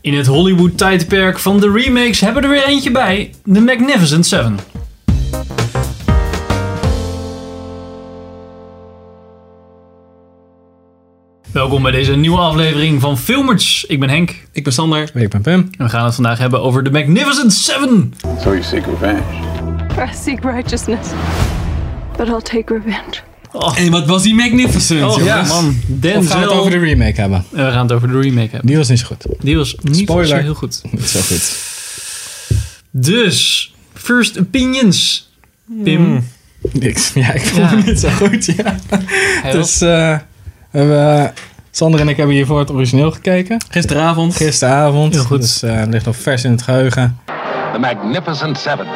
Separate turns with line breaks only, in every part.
In het Hollywood-tijdperk van de remakes hebben we er weer eentje bij: The Magnificent Seven. Welkom bij deze nieuwe aflevering van Filmers. Ik ben Henk
Ik ben Sander. Ik ben Pim.
en we gaan het vandaag hebben over The Magnificent Seven.
So you seek revenge.
I seek righteousness, but I'll take revenge.
En wat was die magnificent,
Oh
jongens.
man,
Of gaan we
Denzel.
het over de remake hebben?
En we gaan het over de remake hebben.
Die was niet zo goed.
Die was niet
Spoiler.
zo heel goed.
Dat is wel goed.
Dus, first opinions. Pim,
Hmm. Niks. Ja, ik vond
Ja.
het niet zo goed. Ja.
hij was-
Dus eh, we- eh, Sander en ik hebben hiervoor het origineel gekeken.
Gisteravond.
Gisteravond.
Heel goed.
Dus eh, het ligt nog vers in het geheugen.
The Magnificent Seven.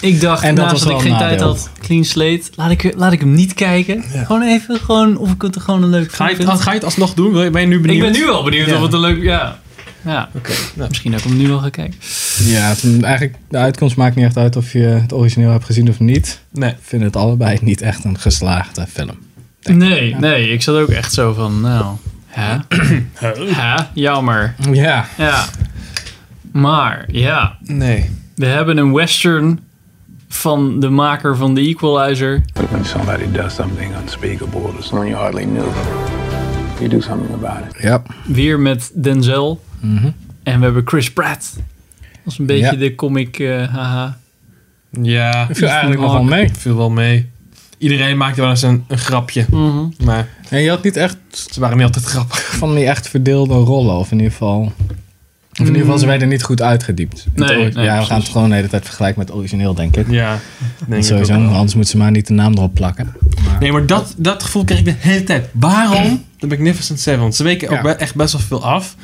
Ik dacht,
En dat
naast
was
dat ik
wel
geen
een
tijd
nadeel.
had, clean slate, laat ik, laat ik hem niet kijken. Gewoon even, gewoon, of ik het gewoon een leuk
Ga
film
je,
vind.
het, ga je het alsnog doen? Ben je- Ben je nu
Ik
benieuwd?
ben nu wel benieuwd
Ja.
of het een leuk... Ja, ja.
Oké. nou.
misschien dat ik hem nu wel ga kijken.
Ja, het- eigenlijk de uitkomst maakt niet echt uit of je het origineel hebt gezien of niet.
Nee.
Ik vind het allebei niet echt een geslaagde film.
Nee, nee, ik zat ook echt zo van, nou... Hè? Hè? Jammer.
Ja.
Ja. Maar, ja.
Nee.
We hebben een western van de maker van The Equalizer.
When somebody does something unspeakable to someone you hardly knew, you do something about it.
Ja.
Weer met Denzel.
Mhm.
En we hebben Chris Pratt. Dat is een beetje
Ja.
de comic, eh, haha.
Ja.
Ik viel eigenlijk nog wel
Hawke.
mee.
Viel wel mee. Iedereen maakte wel eens een, een grapje. Maar
En je had niet echt
ze waren niet altijd grappig.
van die echt verdeelde rollen. Of in ieder geval. Of in ieder geval, ze werden niet goed uitgediept. In het
Mm. Nee,
ori-
nee,
ja, we gaan
precies.
het gewoon de hele tijd vergelijken met het origineel, denk ik.
Ja. Denk ik ook
Sowieso,
wel.
anders moeten ze maar niet de naam erop plakken.
Nee, maar dat, dat gevoel kreeg ik de hele tijd. Waarom de Magnificent Seven? Want ze weken ook
Ja.
be- echt best wel veel af.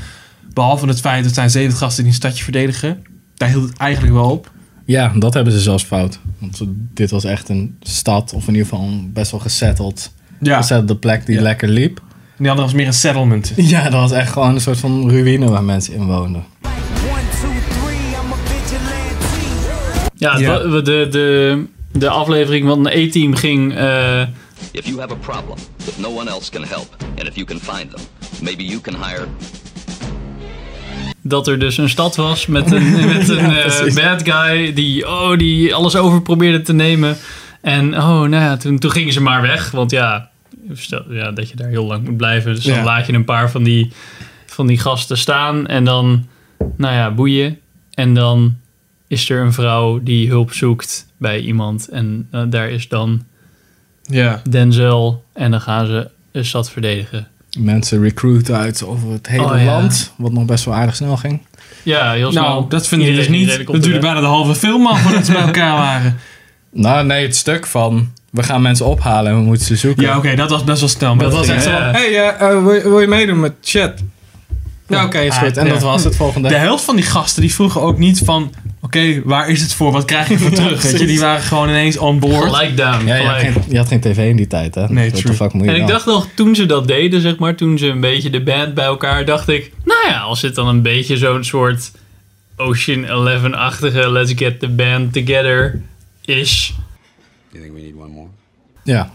Behalve het feit dat het zijn zeven gasten die een stadje verdedigen. Daar hield het eigenlijk wel op.
Ja, dat hebben ze zelfs fout. Want dit was echt een stad, of in ieder geval een best wel gesetteld,
Ja. En
gesettelde plek die
Ja.
lekker liep.
die andere was meer een settlement.
Ja, dat was echt gewoon een soort van ruïne waar mensen in woonden.
One, two, three, I'm a vigilante.
Ja,
Ja.
het wa- De, de, de aflevering van de A-team ging... eh,
If you have a problem that no one else can help, and if you can find them, maybe you can hire
dat er dus een stad was met een, met een eh,
precies.
bad guy die, oh, die alles over probeerde te nemen. En oh, nou ja, toen, toen gingen ze maar weg. Want ja, stel, ja, dat je daar heel lang moet blijven. Dus dan
Ja.
laat je een paar van die, van die gasten staan. En dan, nou ja, boeien. En dan is er een vrouw die hulp zoekt bij iemand. En eh, daar is dan
Ja.
Denzel. En dan gaan ze een stad verdedigen.
Mensen recruiten uit over het hele
Oh, ja.
land, wat nog best wel aardig snel ging.
Ja, heel snel.
Nou, dat vind ik dus
Iedereen-
niet.
iedereen
Het
komt
duurde
erbij.
bijna de halve film al voordat ze bij elkaar waren.
Nou nee, het stuk van, we gaan mensen ophalen en we moeten ze zoeken.
Ja, oké, dat was best wel snel. maar
Dat was
ging,
echt zo
hè?
Ja.
van, hey, eh, eh, wil, je- wil je meedoen met chat? Ja, oké, is
Ah,
goed. En
ja.
dat was het volgende.
De helft van die gasten die vroegen ook niet van... Oké, waar is het voor? Wat krijg je voor terug? Weet je, die
precies.
waren gewoon ineens on board.
Gelijk down.
Ja, je had,
gelijk.
geen, je had geen tv in die tijd, hè?
Nee,
What the
true.
fuck moet je
En ik
dan?
dacht nog, toen ze dat deden, zeg maar, toen ze een beetje de band bij elkaar, dacht ik, nou ja, als dit dan een beetje zo'n soort Ocean Eleven-achtige Let's Get the Band Together is.
You think we need one more?
Ja,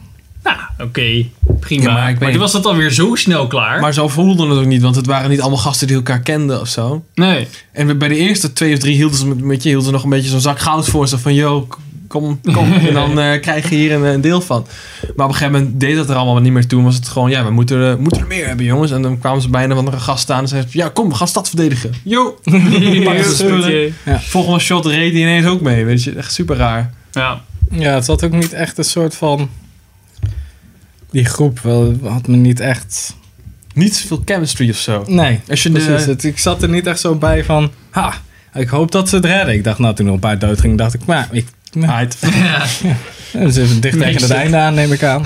Nou, oké, prima.
Ja, maar ik
maar
weet
toen
niet.
was dat dan weer zo snel klaar.
Maar zo voelden het ook niet, want het waren niet allemaal gasten die elkaar kenden of zo.
nee,
En we- bij de eerste twee of drie hielden ze, met, met je, hielden ze nog een beetje zo'n zak goud voor. Zo van, yo, k- kom, kom. en dan eh, krijg je hier een, een deel van. Maar op een gegeven moment deed dat er allemaal niet meer toe. Was het gewoon, ja, we moeten, er- moeten er meer hebben, jongens. En dan kwamen ze bij een of andere gast staan en zeiden ze, ja, kom, we gaan stad verdedigen. Yo! Pakken ze spullen. Volgende shot reed hij ineens ook mee, weet je. Echt super raar.
ja.
Ja, het zat ook niet echt een soort van. Die groep wel, had me niet echt.
Niet zoveel chemistry of zo.
Nee,
Als je
precies.
de-
Het, ik zat er niet echt zo bij van. Ha, ik hoop dat ze het redden. Ik dacht, nou, toen er een paar dood gingen, dacht ik, maar ik. Nou,
Uit.
Ja.
ze even dicht tegen het
Meester.
einde aan, neem ik aan.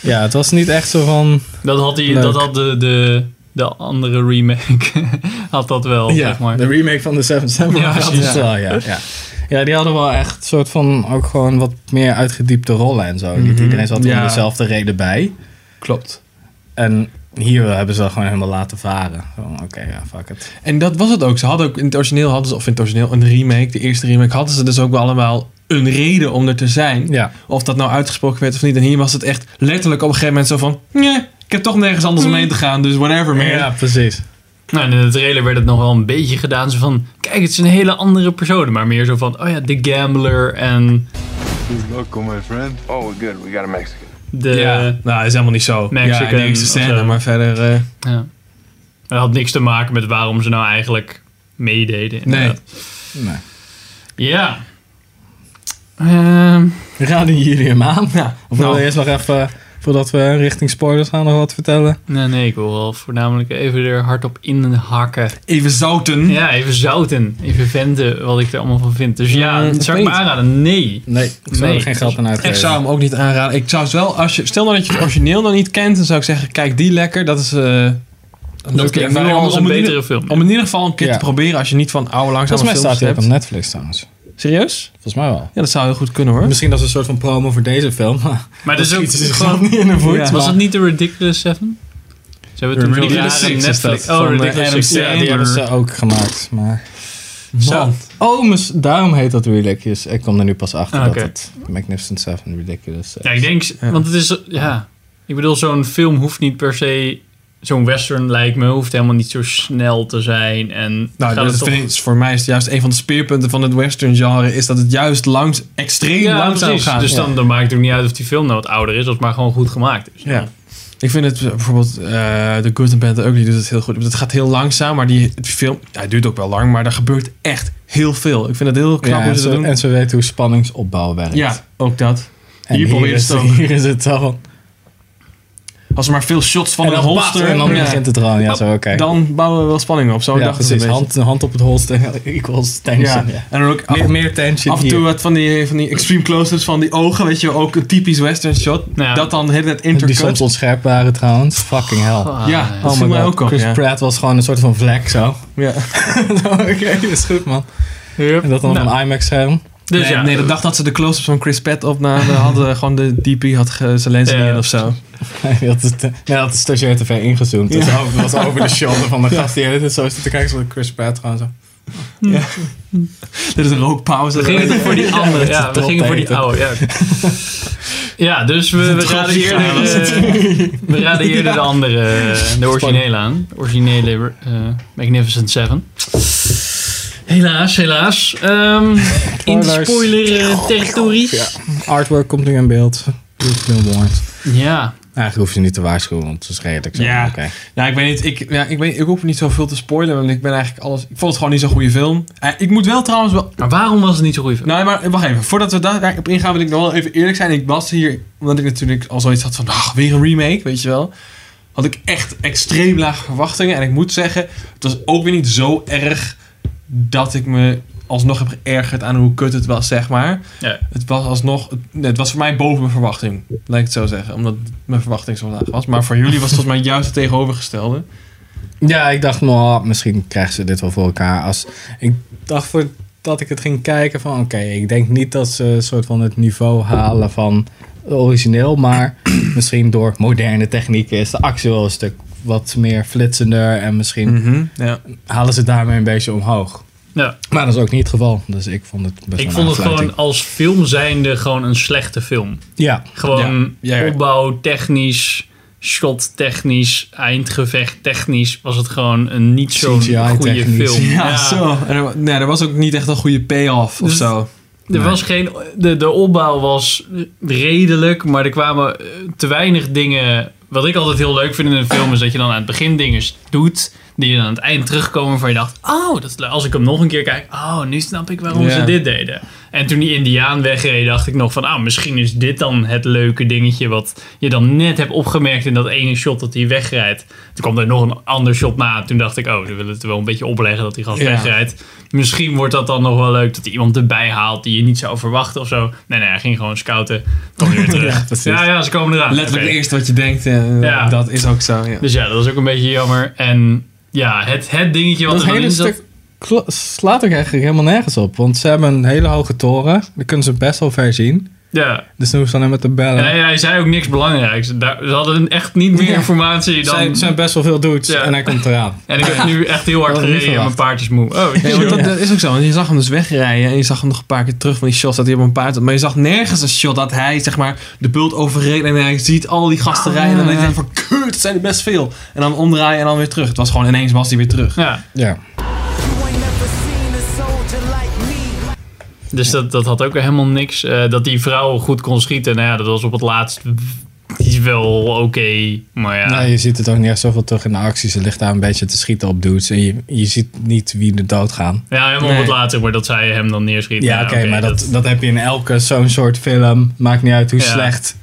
Ja, het was niet echt zo van.
Dat had, die,
Leuk.
dat had de, de, de andere remake, had dat wel, zeg maar.
de remake van de Seven Samurai.
Ja,
dat
precies.
is wel, ja, ja. Ja, die hadden wel echt een soort van ook gewoon wat meer uitgediepte rollen en zo. Niet iedereen zat
Ja.
om dezelfde reden bij.
Klopt.
En hier hebben ze dat gewoon helemaal laten varen. Gewoon, Oké, ja, fuck it.
En dat was het ook. Ze hadden ook in het origineel hadden ze, of in het origineel, een remake, de eerste remake, hadden ze dus ook wel allemaal een reden om er te zijn.
Ja.
Of dat nou uitgesproken werd of niet. En hier was het echt letterlijk op een gegeven moment zo van, nee, ik heb toch nergens anders omheen te gaan, dus whatever man.
Ja, precies.
Nou, en in de trailer werd het nog wel een beetje gedaan. Zo van, kijk, het is een hele andere persoon. Maar meer zo van, oh ja, de gambler en
Good luck, my friend.
Oh, we're good. We got a Mexican.
de...
Ja, nou, dat is helemaal niet zo.
Mexican
ja, die eerste
of
scène,
zo.
maar verder... eh,
Ja. Dat had niks te maken met waarom ze nou eigenlijk meededen. inderdaad.
Nee.
Ja. Ehm,
Raden jullie hem aan?
ja,
Of wil
nou,
je eerst nog even, voordat we richting spoilers gaan, nog wat vertellen?
nee, nee, ik wil wel voornamelijk even er hard op inhakken.
even zouten.
Ja, even zouten. Even venten wat ik er allemaal van vind. Dus ja,
Mm,
zou ik me
opeens.
aanraden? Nee.
Nee, ik zou
Nee.
er geen geld aan uitgeven.
Ik zou hem ook niet aanraden. Ik zou het wel, als je, stel nou dat je het origineel nog niet kent, dan zou ik zeggen, kijk die lekker. Dat is eh, een
Dat
leuke
klinkt nu
ervaring om,
als een
om in
betere
ieder-
film.
om in ieder geval een keer
Ja.
te proberen als je niet van oude langzame
Volgens mij
films
staat hij ook op
hebt.
Netflix trouwens.
Serieus?
Volgens mij wel.
Ja, dat zou heel goed kunnen hoor.
Misschien dat is een soort van promo voor deze film. Maar
Maar dat is ook
schieten ze
gewoon...
zichzelf niet in de voet.
Ja.
Was het niet The Ridiculous Seven? Ze hebben toen
Ridiculous
jaren
Six is
Netflix...
dat,
Oh,
van, eh,
Ridiculous
Adam
Six.
Sandler. die hebben ze ook gemaakt. Maar... Zo.
Man.
Oh, mis- daarom heet dat Ridiculous. Ik kom er nu pas achter
Ah, oké.
dat het Magnificent Seven Ridiculous
Ja,
is.
ik denk, want het is, ja, ik bedoel, zo'n film hoeft niet per se, zo'n western lijkt me, hoeft helemaal niet zo snel te zijn. En
Nou,
gaat
dat
het toch-
vind ik- voor mij is het juist een van de speerpunten van het western genre, is dat het juist langs, extreem
ja,
langzaam
precies.
gaat.
Dus dan, dan maakt het ook niet uit of die film nou wat ouder is, of het maar gewoon goed gemaakt is.
Ja. Ik vind het eh, bijvoorbeeld eh The Good and Bad ook die doet het heel goed. Het gaat heel langzaam, maar die het film, ja, het duurt ook wel lang, maar er gebeurt echt heel veel. Ik vind het heel knap
Ja,
hoe
en,
ze dat
ze,
doen.
en ze weten hoe spanningsopbouw werkt.
ja, ook dat.
en
hier
hier,
probeer je
is,
het ook.
hier is het al.
Als er maar veel shots van
En
een
dan
holster,
holster. En dan
ja,
begint het eraan. Ja, zo oké.
dan bouwen we wel spanning op. Zo
ja,
dacht ik een
precies.
beetje.
Hand, hand op het holster equals
ja.
tension. Ja.
En dan ook af,
Meer, meer tension
af en toe wat van die, van die extreme close-ups van die ogen, weet je, wel, ook een typisch western shot.
Ja.
Dat dan de hele tijd
hier. Die soms
intercut.
onscherp waren trouwens. Fucking hell. Oh
Ah,
Ja, dat
my
viel mij
god.
ook op.
Chris
ja.
Pratt was gewoon een soort van vlek zo.
Ja.
Oké, is goed man.
Yep.
En dat dan
Nou,
op een IMAX scherm.
dus
nee,
ja,
nee, de dag dat ze de close-ups van Chris Pratt opnamen, hadden gewoon de DP had ge- zijn lens
Ja.
niet in of zo.
Nee, dat is te- nee, dat is stagiair te ver ingezoomd. Dat was over- dat was over de shoulder van de gast die hele tijd zo zit te kijken. Zoals Chris Pratt gewoon zo.
Dit is een rookpauze.
we gingen toch voor die andere.
met
Ja,
de
we gingen voor die
trap
oude. Ja, ja dus we, we raden eerder, eh, we raden eerder de andere, eh, de originele aan. De Originele eh, Magnificent Seven. Helaas, helaas. Ehm in de
Spoilers.
spoiler eh, territorie. Ja.
Artwork komt nu in beeld. You've been warned.
ja.
Nou, Eigenlijk hoef je niet te waarschuwen, want het is redelijk zo.
Ja.
Oké.
Ja, ik weet niet. Ik, ja, ik, weet, ik hoef niet zoveel te spoilen, want ik ben eigenlijk alles... Ik vond het gewoon niet zo'n goede film. Eh, ik moet wel trouwens wel...
Maar waarom was het niet zo goed? film?
Nou, maar wacht even. Voordat we daarop ingaan, wil ik nog wel even eerlijk zijn. Ik was hier, omdat ik natuurlijk al zoiets had van... Ach, weer een remake, weet je wel. Had ik echt extreem lage verwachtingen. En ik moet zeggen, het was ook weer niet zo erg... dat ik me alsnog heb geërgerd aan hoe kut het was, zeg maar.
Ja.
Het was alsnog... Het, nee, het was voor mij boven mijn verwachting, laat ik het zo zeggen. Omdat mijn verwachting zo laag was. Maar voor jullie was het volgens mij juist het tegenovergestelde.
Ja, ik dacht, nou, misschien krijgen ze dit wel voor elkaar. Als, ik dacht voordat ik het ging kijken van, oké, ik denk niet dat ze een soort van het niveau halen van origineel, maar misschien door moderne technieken is de actie wel een stuk wat meer flitsender en misschien
Ja.
halen ze het daarmee een beetje omhoog.
Ja.
Maar dat is ook niet het geval, dus ik vond het best
Ik
wel
vond het
een aanfluiting.
gewoon als film zijnde gewoon een slechte film.
Ja,
Gewoon
Ja, ja, ja.
opbouw technisch, shot technisch, eindgevecht technisch was het gewoon een niet zo'n
CGI
goede
technisch.
film.
Ja, zo. En er, wa- nee, er was ook niet echt een goede payoff of
Dus-
zo.
Er was geen, de, de opbouw was redelijk, maar er kwamen eh, te weinig dingen. Wat ik altijd heel leuk vind in een film is dat je dan aan het begin dingen doet die je dan aan het eind terugkomen waarvan je dacht, oh, dat, is le- als ik hem nog een keer kijk, oh, nu snap ik waarom
Ja.
ze dit deden. En toen die indiaan wegreed, dacht ik nog van, ah, misschien is dit dan het leuke dingetje wat je dan net hebt opgemerkt in dat ene shot dat hij wegrijdt. Toen kwam er nog een ander shot na. Toen dacht ik, oh, we willen het wel een beetje opleggen dat hij gast
Ja.
wegrijdt. Misschien wordt dat dan nog wel leuk dat hij iemand erbij haalt die je niet zou verwachten of zo. Nee, nee, hij ging gewoon scouten. Kom weer
Ja,
terug.
precies.
ja, ja, ze komen eraan.
Ah, Letterlijk
Oké.
het eerste wat je denkt, eh,
Ja.
dat is ook zo. Ja.
Dus ja, dat was ook een beetje jammer. En ja, het, het dingetje wat
Dat
er dan
hele
in zat...
stuk klo- slaat ook eigenlijk helemaal nergens op. Want ze hebben een hele hoge toren. Daar kunnen ze best wel ver zien.
Ja.
Dus dan hoef ze alleen maar te bellen.
En hij, hij zei ook niks belangrijks. Daar, ze hadden echt niet meer
Ja.
informatie dan...
zijn, zijn best wel veel dudes
Ja.
en hij komt eraan.
En ik heb nu echt heel hard
Dat had ik niet
gereden en mijn
verwacht.
paard is moe. Oh,
Nee, want dat, dat is ook zo. Want je zag hem dus wegrijden en je zag hem nog een paar keer terug van die shots dat hij op een paard zat. Maar je zag nergens een shot dat hij zeg maar de bult overreed en hij ziet al die gasten rijden. En dan denkt hij van kut, dat zijn er best veel. En dan omdraaien en dan weer terug. Het was gewoon ineens was hij weer terug.
ja.
Ja.
You ain't never seen a soldier like me.
Dus dat, dat had ook helemaal niks. Eh, dat die vrouw goed kon schieten, nou ja, dat was op het laatst die wel oké. maar ja.
Nou, je ziet het ook niet echt zoveel terug in de actie. Ze ligt daar een beetje te schieten op dudes. En je, je ziet niet wie er doodgaan.
ja, helemaal op
Nee.
het laatst, zeg maar dat zij hem dan neerschiet.
Ja,
Nou,
oké, maar dat, dat... heb je in elke zo'n soort film. Maakt niet uit hoe
Ja.
slecht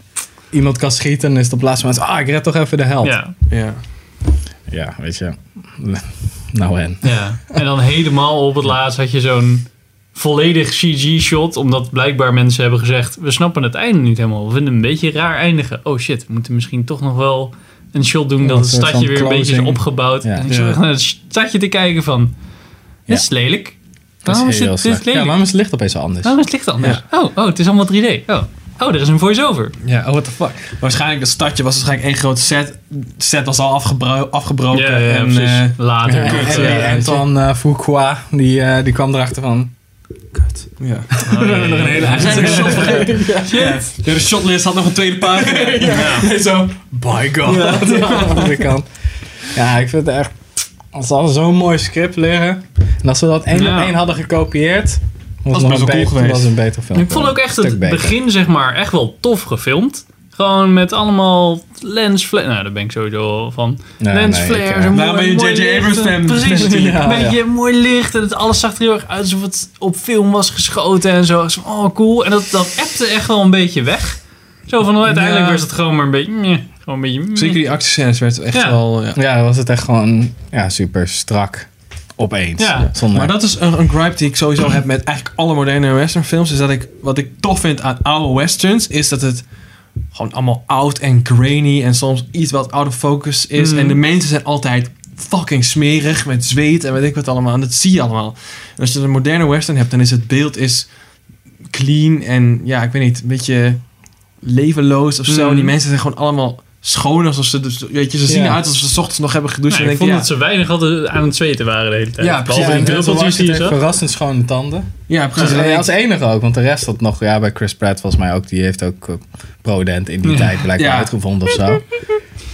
iemand kan schieten. Dan is het op het laatste moment, ah, ik red toch even de held.
Ja,
Ja.
Ja, weet je. Nou en.
ja. En dan helemaal op het laatst had je zo'n volledig CG-shot. Omdat blijkbaar mensen hebben gezegd, we snappen het einde niet helemaal. We vinden het een beetje raar eindigen. Oh shit, we moeten misschien toch nog wel een shot doen dat
een
het
soort
stadje
van
weer een beetje is
closing.
opgebouwd.
Ja.
En ik zat echt naar het stadje te kijken van, dit is lelijk.
Dat
Waarom
is
is
heel
dit, dit
slecht.
lelijk?
Ja, waarom is het licht opeens anders?
Waarom is het licht anders? Oh, oh, het is allemaal 3D. Oh. oh, er is een voice-over.
Ja, oh, what the fuck. Waarschijnlijk dat stadje was waarschijnlijk één grote set. De set was al afgebro- afgebroken. en, eh,
Later.
En,
Kut,
en die
ja.
Anton eh Fuqua, die, eh, die kwam erachter van...
ja.
Oh, ja, ja, ja.
Eigenlijk een shot vergeten. Shit. Ja, eh, de shotlist had nog een tweede pagina. En zo, by god.
Ja, aan de andere kant. Ja, ik vind het echt... Als ze hadden zo'n mooi script liggen. En als ze dat één
Ja.
op één hadden gekopieerd... Was
Was
het nog
best
een
wel cool
beter-
geweest.
was een beter film.
Ik vond ook echt het
Stuk beter.
begin, zeg maar, echt wel tof gefilmd. Gewoon met allemaal lens flares. Nou, daar ben ik sowieso wel van.
Nee,
lens
nee,
flares.
ik,
een
eh,
mooi-
Daarom ben je
mooi
J.J.
licht,
Abrams
een-
fan.
Precies.
Ja,
Een beetje
ja.
mooi licht. En het alles zag er heel erg uit alsof het op film was geschoten en zo. Ik was van, Oh, cool. En dat, dat appte echt wel een beetje weg. Zo van, uiteindelijk
Ja.
was het gewoon maar een beetje... meh. gewoon een beetje... meh.
Zeker die actiescènes werd echt
Ja.
wel... Ja.
Ja, dan was het echt gewoon ja, super strak. Opeens.
Ja.
Zonder,
Maar dat is een, een gripe die ik sowieso heb met eigenlijk alle moderne westernfilms. Is dat ik, wat ik tof vind aan oude westerns, is dat het gewoon allemaal oud en grainy en soms iets wat out of focus is.
Mm.
En de mensen zijn altijd fucking smerig met zweet en weet ik wat allemaal. En dat zie je allemaal. En als je een moderne western hebt, dan is het beeld is clean en ja, ik weet niet, een beetje levenloos of zo.
Mm.
Die mensen zijn gewoon allemaal schoon alsof ze, dus, weet je, ze zien
Ja.
eruit alsof ze 's ochtends nog hebben gedoucht.
Ja,
en
ik
dan
vond
denk
dat ze weinig hadden aan het zweten waren de hele tijd.
Ja, precies.
Behalve
en
die
Denzel
druppeltjes
Washington
die je
heeft
zag.
verrassend schone tanden.
ja, precies.
Ja,
En
als
ik-
enige ook, want de rest had nog, ja, bij Chris Pratt volgens mij ook, die heeft ook eh, Prodent in die
Ja.
tijd blijkbaar
Ja.
uitgevonden of zo.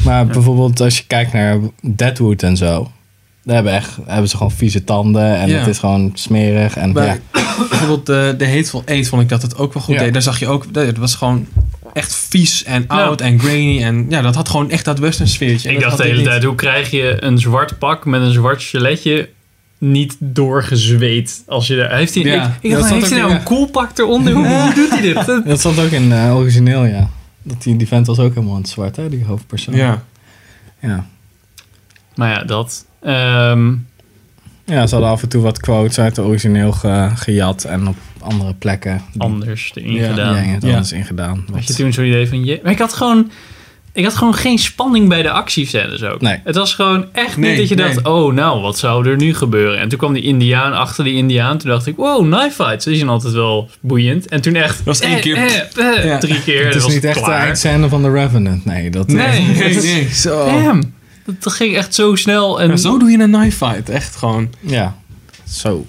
Maar bijvoorbeeld als je kijkt naar Deadwood en zo, daar hebben, echt, hebben ze gewoon vieze tanden en
Ja.
het is gewoon smerig. En,
Bij,
ja.
Bijvoorbeeld de, de Hateful Eight vond ik dat het ook wel goed
Ja.
deed. Daar zag je ook, dat- het was gewoon echt vies en oud en grainy. En ja, dat had gewoon echt dat western sfeertje. En
Ik
dat
dacht de
had
hele
dit
tijd,
niet.
hoe krijg je een zwart pak met een zwart geletje niet doorgezweet? Als je daar, heeft hij,
Ja,
ik- ik,
dat
dacht,
zat
heeft hij
ook
nou
in,
een cool pak eronder? Hoe, hoe doet hij dit? Dat-
Dat stond ook in eh, origineel, ja. Dat die, die vent was ook helemaal in het zwart, hè, die hoofdpersoon.
Ja.
Ja.
Maar ja, dat. Ehm,
Ja, ze hadden af en toe wat quotes uit het origineel ge- gejat en op andere plekken
anders erin
Ja,
gedaan.
dingen het
Ja.
anders ingedaan.
Had je
Wat-
toen zo'n idee van, je, maar ik had gewoon... Ik had gewoon geen spanning bij de actiescènes ook.
Nee.
Het was gewoon echt
Nee,
niet dat je
nee.
dacht... oh, nou, wat zou er nu gebeuren? En toen kwam die indiaan achter die indiaan. Toen dacht ik, wow, knife fights. Die zijn altijd wel boeiend. En toen echt... Dat
was één keer. Ja.
Drie keer.
Het is
was
niet echt de
klaar.
eindscène van The Revenant, nee. Dat,
Nee.
Nee, nee. Zo.
Damn. Dat, dat ging echt zo snel. En,
Ja, zo doe je een knife fight. Echt gewoon.
Ja. Zo.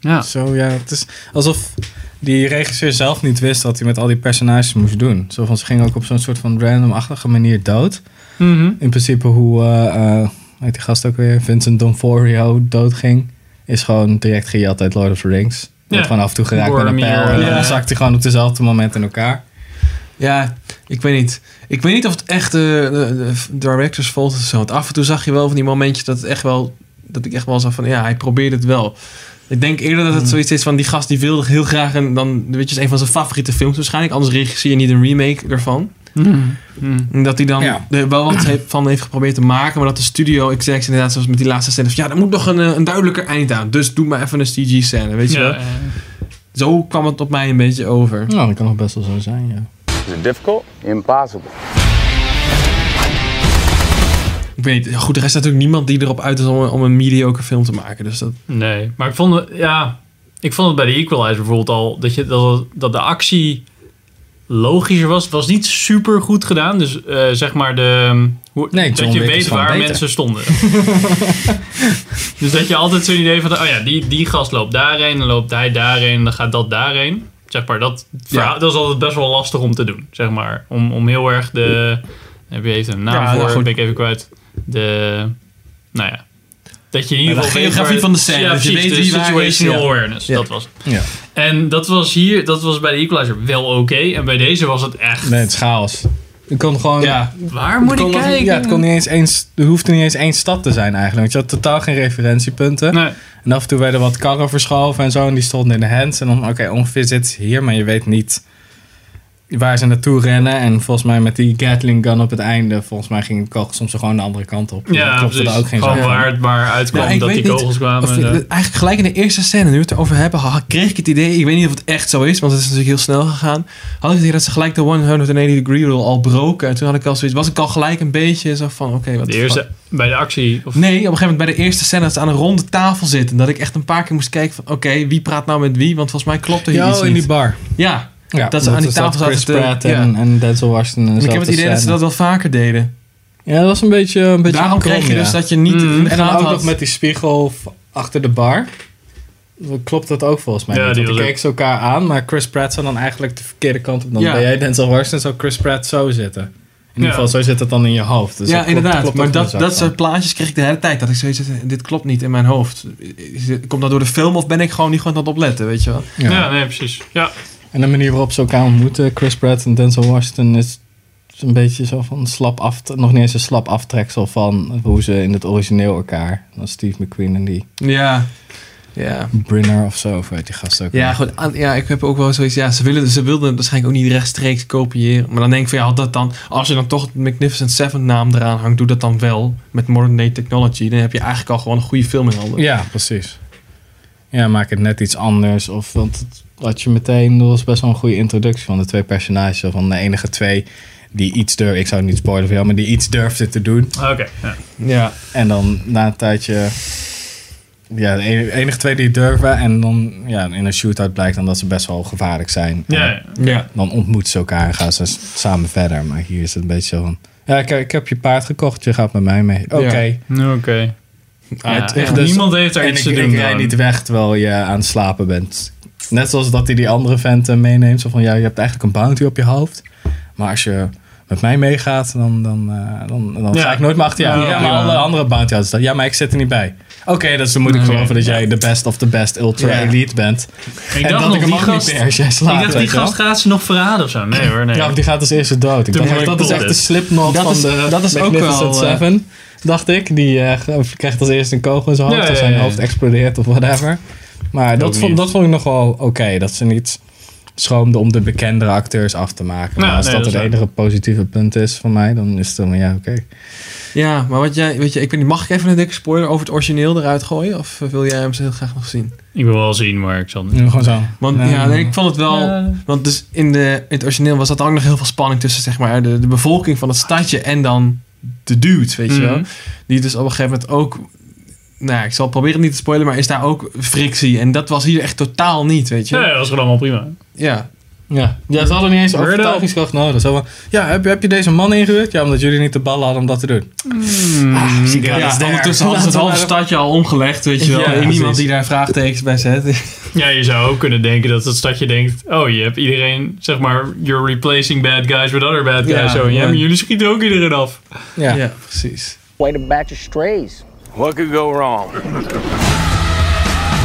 Ja.
Zo, ja. Het is alsof die regisseur zelf niet wist wat hij met al die personages moest doen. Zo van, ze gingen ook op zo'n soort van randomachtige manier dood.
Mhm.
In principe hoe, eh eh, hoe heet die gast ook weer, Vincent D'Onofrio doodging, is gewoon direct gejat uit Lord of the Rings. Wordt
Ja.
gewoon af en toe geraakt met een
Boromir,
pijl en dan
ja.
zakt hij gewoon op dezelfde moment in elkaar.
Ja, ik weet niet. Ik weet niet of het echt eh, de, de directors fault is of zo. Want af en toe zag je wel van die momentjes dat het echt wel... Dat ik echt wel zag van, ja, hij probeerde het wel. Ik denk eerder dat het zoiets is van die gast die wilde heel graag... En dan, weet je, is een van zijn favoriete films waarschijnlijk. Anders regisseer je niet een remake ervan. En Dat hij dan
Ja.
er wel wat heeft- van heeft geprobeerd te maken. Maar dat de studio execs inderdaad, zoals met die laatste scène... Van, ja, er moet nog een, eh, een duidelijker eind aan. Dus doe maar even een CG-scène, weet je
Ja,
wel.
eh,
Zo kwam het op mij een beetje over.
Nou, dat kan nog best wel zo zijn, ja.
Ik weet niet. Goed, er is natuurlijk niemand die erop uit is om, om een mediocre film te maken. Dus dat...
Nee, maar ik vond het, ja, ik vond het bij de Equalizer bijvoorbeeld al dat, je, dat, dat de actie logischer was. Het was niet super goed gedaan. Dus eh, zeg maar de, hoe,
Nee, John
dat je
Wick is
weet
gewoon
waar
beter.
mensen stonden. dus dat je altijd zo'n idee van, oh ja, die, die gast loopt daarheen, dan loopt hij daarheen, en dan gaat dat daarheen. Zeg maar, dat, verhaal- dat is altijd best wel lastig om te doen. Zeg maar, om, om heel erg de, heb je even een naam
Ja,
voor,
nou goed.
ben ik even kwijt. De, nou ja. Dat je in ieder
de
geval weet
geografie
waar-
van de scène,
Ja,
dat je
precies,
weet
de
wie waar is,
situational
ja.
awareness,
Ja.
dat was het.
Ja.
En dat was hier, dat was bij de Equalizer wel oké. En bij deze was het echt.
Nee, het is chaos. Je kon gewoon...
Ja,
Waar moet
kon
ik
nog-
kijken?
Ja, het kon niet eens eens, er hoefde niet eens één stad te zijn eigenlijk. Want je had totaal geen referentiepunten.
Nee.
En af en toe werden wat karren verschoven en zo. En die stonden in de hands. En dan, oké, ongeveer zit ze hier. Maar je weet niet waar ze naartoe rennen. En volgens mij met die Gatling gun op het einde. Volgens mij ging de kogel soms gewoon de andere kant op.
Ja,
klopt
precies.
er ook geen
Gewoon
zak van.
waar het maar uitkwam
Ja, ik
dat
weet
die
niet
kogels kwamen. eh, en
of-
zo.
Eigenlijk gelijk in de eerste scène, nu we het erover hebben, ha- kreeg ik het idee, ik weet niet of het echt zo is, want het is natuurlijk heel snel gegaan. Had ik het idee dat ze gelijk de 180 degree rule al broken. En toen had ik al zoiets, was ik al gelijk een beetje zo van, oké, wat
de eerste, bij de actie. Of,
Nee, op een gegeven moment bij de eerste scène dat ze aan een ronde tafel zitten. Dat ik echt een paar keer moest kijken van, oké, wie praat nou met wie? Want volgens mij klopt er hier
Ja,
iets
oh, in
niet.
die bar.
Ja,
Ja,
Dat ze aan die
omdat er
tafel
zat Chris
zaten te-
Pratt
ja.
en, en Denzel Washington. En
en ik heb het idee dat ze dat wel vaker deden.
Ja, dat was een beetje een beetje
Daarom
krom,
kreeg je
ja. Mm-hmm.
dus dat je niet
Mm.
in de
En dan
gaten
ook nog
had.
met die spiegel v- achter de bar. Klopt dat ook volgens mij?
Ja,
niet,
die
want dan
was
keken ze elkaar aan, maar Chris Pratt zou dan eigenlijk de verkeerde kant op. Dan
Ja.
ben jij Denzel Washington, zou Chris Pratt zo zitten. In ieder
Ja.
geval, zo zit het dan in je hoofd. Dus
ja,
dat klopt-
inderdaad.
klopt
maar
ook
dat,
niet
dat
zo
soort plaatjes kreeg ik de hele tijd. Dat ik zoiets had, eh, dit klopt niet in mijn hoofd. Is dit- Komt dat door de film of ben ik gewoon niet goed aan het opletten, weet je wel?
van. Ja.
Ja, nee, precies. Ja,
En de manier waarop ze elkaar ontmoeten, Chris Pratt en Denzel Washington, is een beetje zo van slap af, nog niet eens een slap aftreksel van hoe ze in het origineel elkaar. Dan Steve McQueen en die
Ja. Ja.
Brinner of zo, of weet die gast ook.
Ja,
weer.
goed. aan- Ja, ik heb ook wel zoiets. Ja, ze, willen, ze wilden het waarschijnlijk ook niet rechtstreeks kopiëren. Maar dan denk ik van ja, had dat dan. Als je dan toch het Magnificent Seven naam eraan hangt, doe dat dan wel. Met modern day technology. Dan heb je eigenlijk al gewoon een goede film in handen.
Ja, precies. Ja, maak het net iets anders. Of, want het had je meteen, dat was best wel een goede introductie van de twee personages. Van de enige twee die iets durf ik zou het niet spoilen voor jou, maar die iets durfde te doen.
oké. ja.
ja.
En dan na een tijdje, ja, de enige, enige twee die het durven. En dan, ja, in een shootout blijkt dan dat ze best wel gevaarlijk zijn.
Ja,
En
ja.
ja.
Dan ontmoeten ze elkaar en gaan ze s- samen verder. Maar hier is het een beetje zo van, ja, ik, ik heb je paard gekocht, je gaat met mij mee. Oké.
Ja.
Oké. Ja,
Uit.
echt,
Dus-
niemand heeft daar
en
iets
ik,
te doen.
ik rij
gewoon.
niet weg terwijl je aan het slapen bent. Net zoals dat hij die andere vent eh, meeneemt. Zo van, ja, je hebt eigenlijk een bounty op je hoofd. Maar als je met mij meegaat, dan, dan, eh, dan, dan
Ja.
ga ik nooit meer achter jou.
Ja,
Ja, maar
ja.
alle andere bounty houders. dan, Ja, maar ik zit er niet bij. Oké, dus dan moet ik
Oké.
geloven dat jij de best of the best ultra
Ja.
elite bent.
Ik
en
dacht
dat
nog,
ik hem
die
ook
gast,
niet meer als jij slaapt.
ik dacht, die
weet je wel.
gast gaat ze nog verraden of zo. Nee hoor, nee.
Ja, want die gaat als eerste dood. Ik
Toen
dacht, echt,
moet ik
dat is
dood.
echt de slipknot
Dat
van
is-
de
dat is ook
Magnificent
wel, eh,
Seven, dacht ik. Die eh, krijgt als eerste een kogel in zijn hoofd
Ja,
of
ja,
zijn
ja, ja.
hoofd explodeert of whatever. Maar dat vond,
niet.
dat vond ik nog wel oké. dat ze niet schroomden om de bekendere acteurs af te maken.
Nou,
maar als
nee,
dat
dat
het
is waar.
enige positieve punt is van mij, dan is het dan ja, oké.
Ja, maar wat jij, weet je, ik weet niet, mag ik even een dikke spoiler over het origineel eruit gooien? Of eh, wil jij hem heel graag nog zien?
Ik wil wel zien, maar ik zal niet.
Nu Gewoon zo.
Want
Nee,
ja,
nee,
nee, ik vond het wel.
Ja.
Want dus in, de, in het origineel was dat ook nog heel veel spanning tussen zeg maar, de, de bevolking van het stadje en dan de dude, weet je wel.
Mhm.
Die dus op een gegeven moment ook. Nou, ja, ik zal proberen niet te spoilen, maar is daar ook frictie. En dat was hier echt totaal niet, weet je.
Nee, dat was gewoon allemaal prima.
Ja.
Ja. ja, ze hadden niet eens
Word up.
overtuigingskracht nodig. Zo van, ja, heb, heb je deze man ingehuurd? Ja, omdat jullie niet de ballen hadden om dat te doen.
Hmm,
Ah, dat
Ja,
is
dus
daar.
ondertussen hadden ze het
Laten we
halve
maar-
stadje al omgelegd, weet je wel.
Ja,
en niemand
precies.
die daar vraagtekens bij zet.
Ja, je zou ook kunnen denken dat het stadje denkt... Oh, je hebt iedereen, zeg maar... You're replacing bad guys with other bad guys.
Ja,
zo. En jij-
ja.
maar jullie schieten ook iedereen af.
Ja.
ja, precies.
Way to batch of strays.
What could go wrong?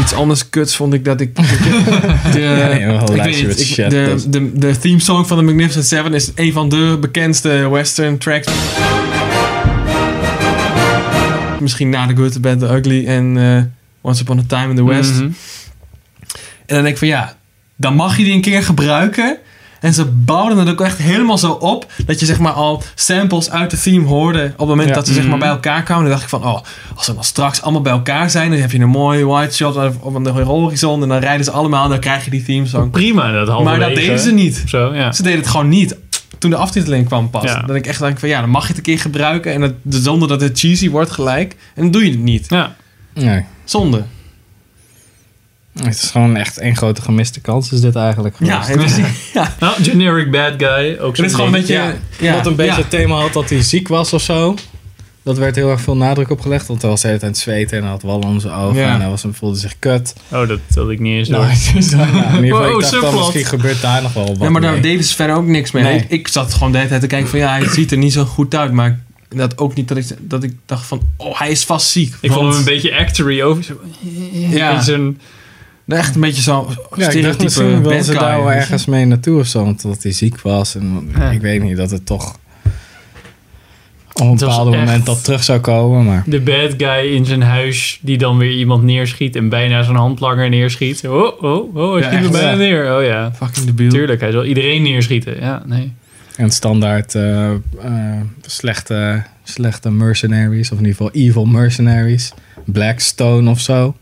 Iets anders kuts vond ik dat ik. De,
nee, een whole
ik
lijstje
weet
met
niet, ik-
shit,
de,
dus.
de, de theme song van de Magnificent Seven is een van de bekendste western tracks. Misschien na The Good, The Bad, The Ugly en eh, Once Upon a Time in the West.
Mhm.
En dan denk ik van ja, dan mag je die een keer gebruiken. En ze bouwden het ook echt helemaal zo op dat je zeg maar al samples uit de theme hoorde. Op het moment
Ja.
dat ze zeg maar bij elkaar kwamen, dan dacht ik van oh, als ze dan straks allemaal bij elkaar zijn, dan heb je een mooie wide shot op een horizon en dan rijden ze allemaal en dan krijg je die theme song.
Prima, dat halve
Maar dat deden ze niet.
Zo, ja.
Ze deden het gewoon niet. Toen de aftiteling kwam pas.
Ja.
Dat ik echt denk van ja, dan mag je het een keer gebruiken en het, zonder dat het cheesy wordt gelijk. En dan doe je het niet.
Ja.
Nee.
Zonde.
Het is gewoon echt één grote gemiste kans, is dit eigenlijk.
Ja,
geweest.
het is, ja.
Nou, generic bad guy. Ook
Het is
zo'n
gewoon een
ding.
beetje...
Ja,
ja,
Wat een beetje
ja.
het thema had dat hij ziek was of zo. Dat werd heel erg veel nadruk op gelegd. Want hij was de hele tijd aan het zweten en hij had wallen om zijn ogen.
Ja.
En hij was, voelde zich kut.
Oh, dat had ik niet eens door.
Nou, dus, ja, in ieder geval,
Wow,
ik dacht dan,
subplot.
misschien gebeurt daar nog wel wat
Ja, maar daar
mee.
deden ze verder ook niks mee.
Nee.
Ik, ik zat gewoon de hele tijd te kijken van ja, hij ziet er niet zo goed uit. Maar dat ook niet dat ik, dat ik dacht van oh, hij is vast ziek.
Ik vond
Want-
hem een beetje actory over. zo-
Ja.
in zijn-
Nou, echt een beetje zo
Ja, ik dacht
stereotype
misschien
bad
wel ze
guy.
daar wel ergens mee naartoe of zo. Want dat hij ziek was. En
Ja.
ik weet niet, dat het toch... Op een
was
bepaald moment
echt-
dat terug zou komen. Maar
De bad guy in zijn huis die dan weer iemand neerschiet en bijna zijn handlanger neerschiet. Oh, oh, oh, hij
Ja,
schiet me
echt,
bijna
ja.
neer. Oh ja,
Fucking debiel.
tuurlijk. Hij zal iedereen neerschieten. Ja, nee.
en standaard eh, eh, slechte, slechte mercenaries. Of in ieder geval evil mercenaries. Blackstone of zo.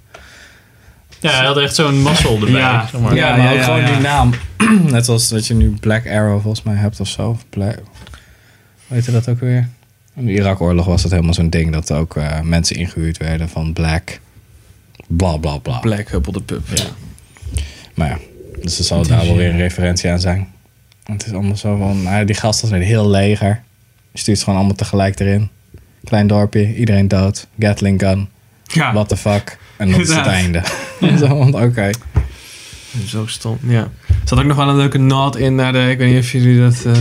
Ja, hij had echt zo'n mazzel erbij.
Ja.
zeg maar.
Ja,
Ja,
maar
ja,
ook
ja,
gewoon
ja.
die naam. Net zoals dat je nu Black Arrow volgens mij hebt of zo. Of Black... Weet je dat ook weer? In de Irak-oorlog was dat helemaal zo'n ding dat ook eh, mensen ingehuurd werden van Black. Bla bla bla.
Black Hubble de Pup. Ja.
Maar ja, dus er zal daar wel weer een referentie aan zijn. Het is allemaal zo van, nou, die gast was met een heel leger. Je stuurt ze gewoon allemaal tegelijk erin. Klein dorpje, iedereen dood. Gatling gun,
ja.
what the fuck. En dat is het
Ah. Ja.
einde. Zo, want oké.
Zo stom, ja. Er zat ook nog wel een leuke nod in naar de... Ik weet niet of jullie dat eh,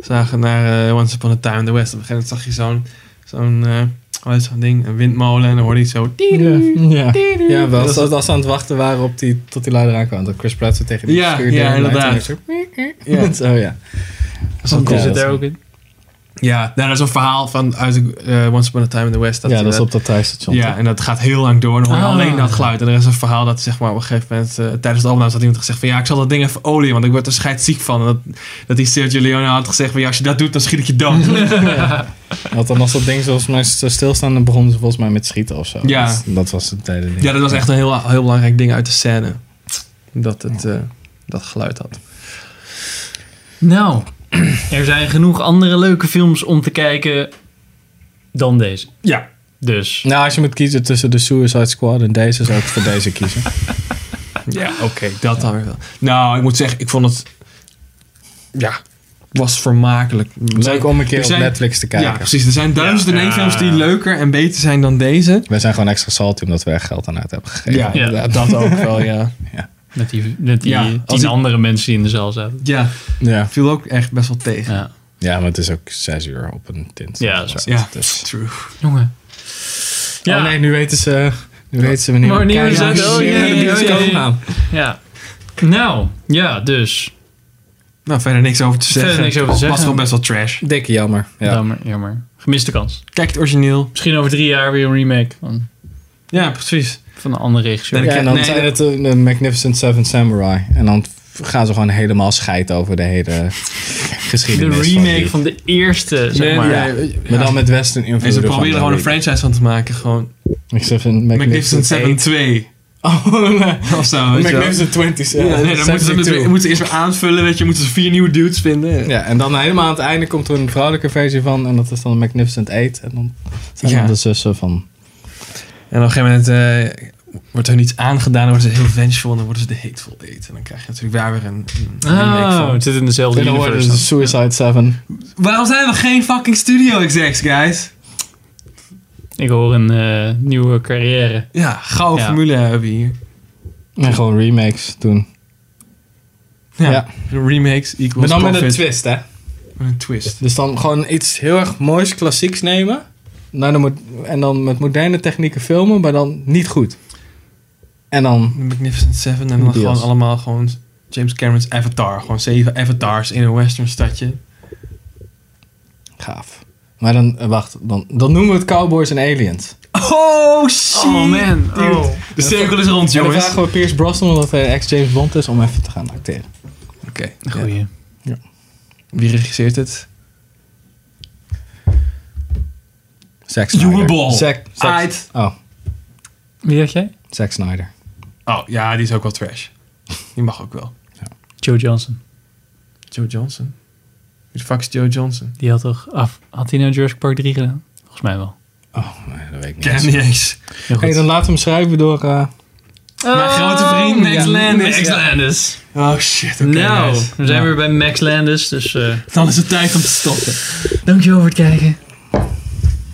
zagen naar eh, Once Upon a Time in the West. Op een gegeven moment zag je zo'n... Zo'n... eh, hoe heet zo'n ding? Een windmolen. En dan hoorde je zo...
Ja, ja wel, als, als ze aan het wachten waren op die, tot die lui eraan kwam. Dat Chris Pratt zo tegen die
Ja,
schuur
ja,
deed en
inderdaad.
hij toen zo- Ja. zo, ja.
Zo'n
cool.
Is
Ja,
het
dat
daar
is-
ook in?
Ja, daar is een verhaal van uit eh, Once Upon a Time in the West.
ja, dat is
inderdaad-
op dat thuisstation.
Ja, eh, en dat gaat heel lang door. Dan hoor je
Ah.
alleen dat geluid. En er is een verhaal dat zeg maar, op een gegeven moment... eh, tijdens het opnames had iemand gezegd van... Ja, ik zal dat ding even olie, want ik word er scheidsziek van. En dat, dat die Sergio Leone had gezegd van... Ja, als je dat doet, dan schiet ik je dood.
Want dan was dat ding zoals mij zo stilstaan, dan begonnen ze volgens mij met schieten of zo.
Ja.
Dat, dat was het hele ding.
ja, dat was echt een heel, heel belangrijk ding uit de scène. Dat het eh, dat geluid had.
Nou, er zijn genoeg andere leuke films om te kijken dan deze.
Ja.
Dus,
Nou, als je moet kiezen tussen de Suicide Squad en deze, zou ik voor deze kiezen.
Ja, oké, dat dan weer wel. Nou, ik moet zeggen, ik vond het... Ja, was vermakelijk.
Leuk om een keer
Er zijn-
op Netflix te kijken.
Ja, precies. Er zijn duizenden
Ja.
Nederlandse films die leuker en beter zijn dan deze.
Wij zijn gewoon extra salty omdat we er geld aan uit hebben gegeven.
Ja.
inderdaad.
dat ook wel, ja.
met die, met die
Ja,
tien
als ik-
andere mensen die in de zaal zaten.
Ja,
Ja.
viel ook echt best wel tegen.
Ja,
ja, maar het is ook zes uur op een tint.
Ja, dat is
waar. Ja.
Dus.
True.
jongen. Ja,
Oh nee, nu weten ze, nu weten ze wanneer
Wanneer we
kijken.
zijn- oh, jee,
Ja, de
jee,
bioscoop
jee.
gaan.
ja. Nou, ja, dus.
Nou, verder niks over te
Verder
zeggen.
niks over te zeggen.
Was gewoon best wel trash.
Dikke jammer. Ja.
Jammer, jammer. Gemiste kans.
Kijk het origineel.
Misschien over drie jaar weer een remake van,
Ja, precies.
van een andere regisseur.
Nee,
Ja, en dan
Nee,
zijn
dat-
het eh, de Magnificent Seven Samurai. En dan gaan ze gewoon helemaal scheiden over de hele
de
geschiedenis. van die-
remake van de eerste, zeg
Nee,
maar.
nee,
Maar dan met Western invloed.
En ze proberen er gewoon een franchise van te maken. Gewoon Magnificent
Magnificent
Seven
7.
2.
Oh, nee.
Of zo, weet je wel.
Magnificent 20s. Ja,
Ja, nee, dan moeten ze, met-
72.
moeten ze eerst weer aanvullen, weet je. Moeten ze vier nieuwe dudes vinden.
Ja, en dan helemaal aan het einde komt er een vrouwelijke versie van. En dat is dan Magnificent 8. En dan zijn
Ja.
dan de zussen van...
En op een gegeven moment eh, wordt hun iets aangedaan. Dan worden ze heel vengeful en dan worden ze de hateful eight. En dan krijg je natuurlijk daar weer een, een remake
Oh,
van.
het zit in dezelfde
En dan worden ze
universe.
Suicide 7.
Waarom zijn we geen fucking studio execs, guys?
Ik hoor een eh, nieuwe carrière.
Ja, gouden
Ja.
formule hebben we hier.
En gewoon remakes doen.
Ja.
Ja.
Remakes equals
Maar dan met
profit.
een twist, hè?
Met een twist.
Dus dan gewoon iets heel erg moois, klassieks nemen. Nou, dan moet, en dan met moderne technieken filmen, maar dan niet goed. En dan...
De Magnificent Seven en dan
Deals.
gewoon allemaal gewoon James Cameron's Avatar. Gewoon zeven avatars in een western stadje.
Gaaf. Maar dan, eh, wacht, dan, dan noemen we het Cowboys en Aliens.
Oh shit!
Oh man, oh.
De cirkel is rond,
En dan
jongens.
vragen we Pierce Brosnan, omdat hij ex-James Bond is, om even te gaan acteren.
Oké.
Goeie.
Wie regisseert het?
Zack
Uwe
Snyder.
Bol.
Zack, Zack-
Uit.
Oh,
Wie had jij?
Zack Snyder.
Oh ja, die is ook wel trash. Die mag ook wel.
Joe Johnson.
Joe Johnson? Wie de fuck is Joe Johnson?
Die had toch af. Had hij nou Jurassic Park 3 gedaan? Volgens mij wel.
Oh, nee, dat weet ik
Ken
niet.
niet eens.
Heel goed.
Hey, dan laten we hem schrijven door... eh, Mijn grote vriend Max Landis.
Max
Ja.
Landis.
Oh shit, oké.
nou,
nice.
we zijn weer bij Max Landis. Dus eh
Dan is het tijd om te stoppen.
dankjewel voor het kijken.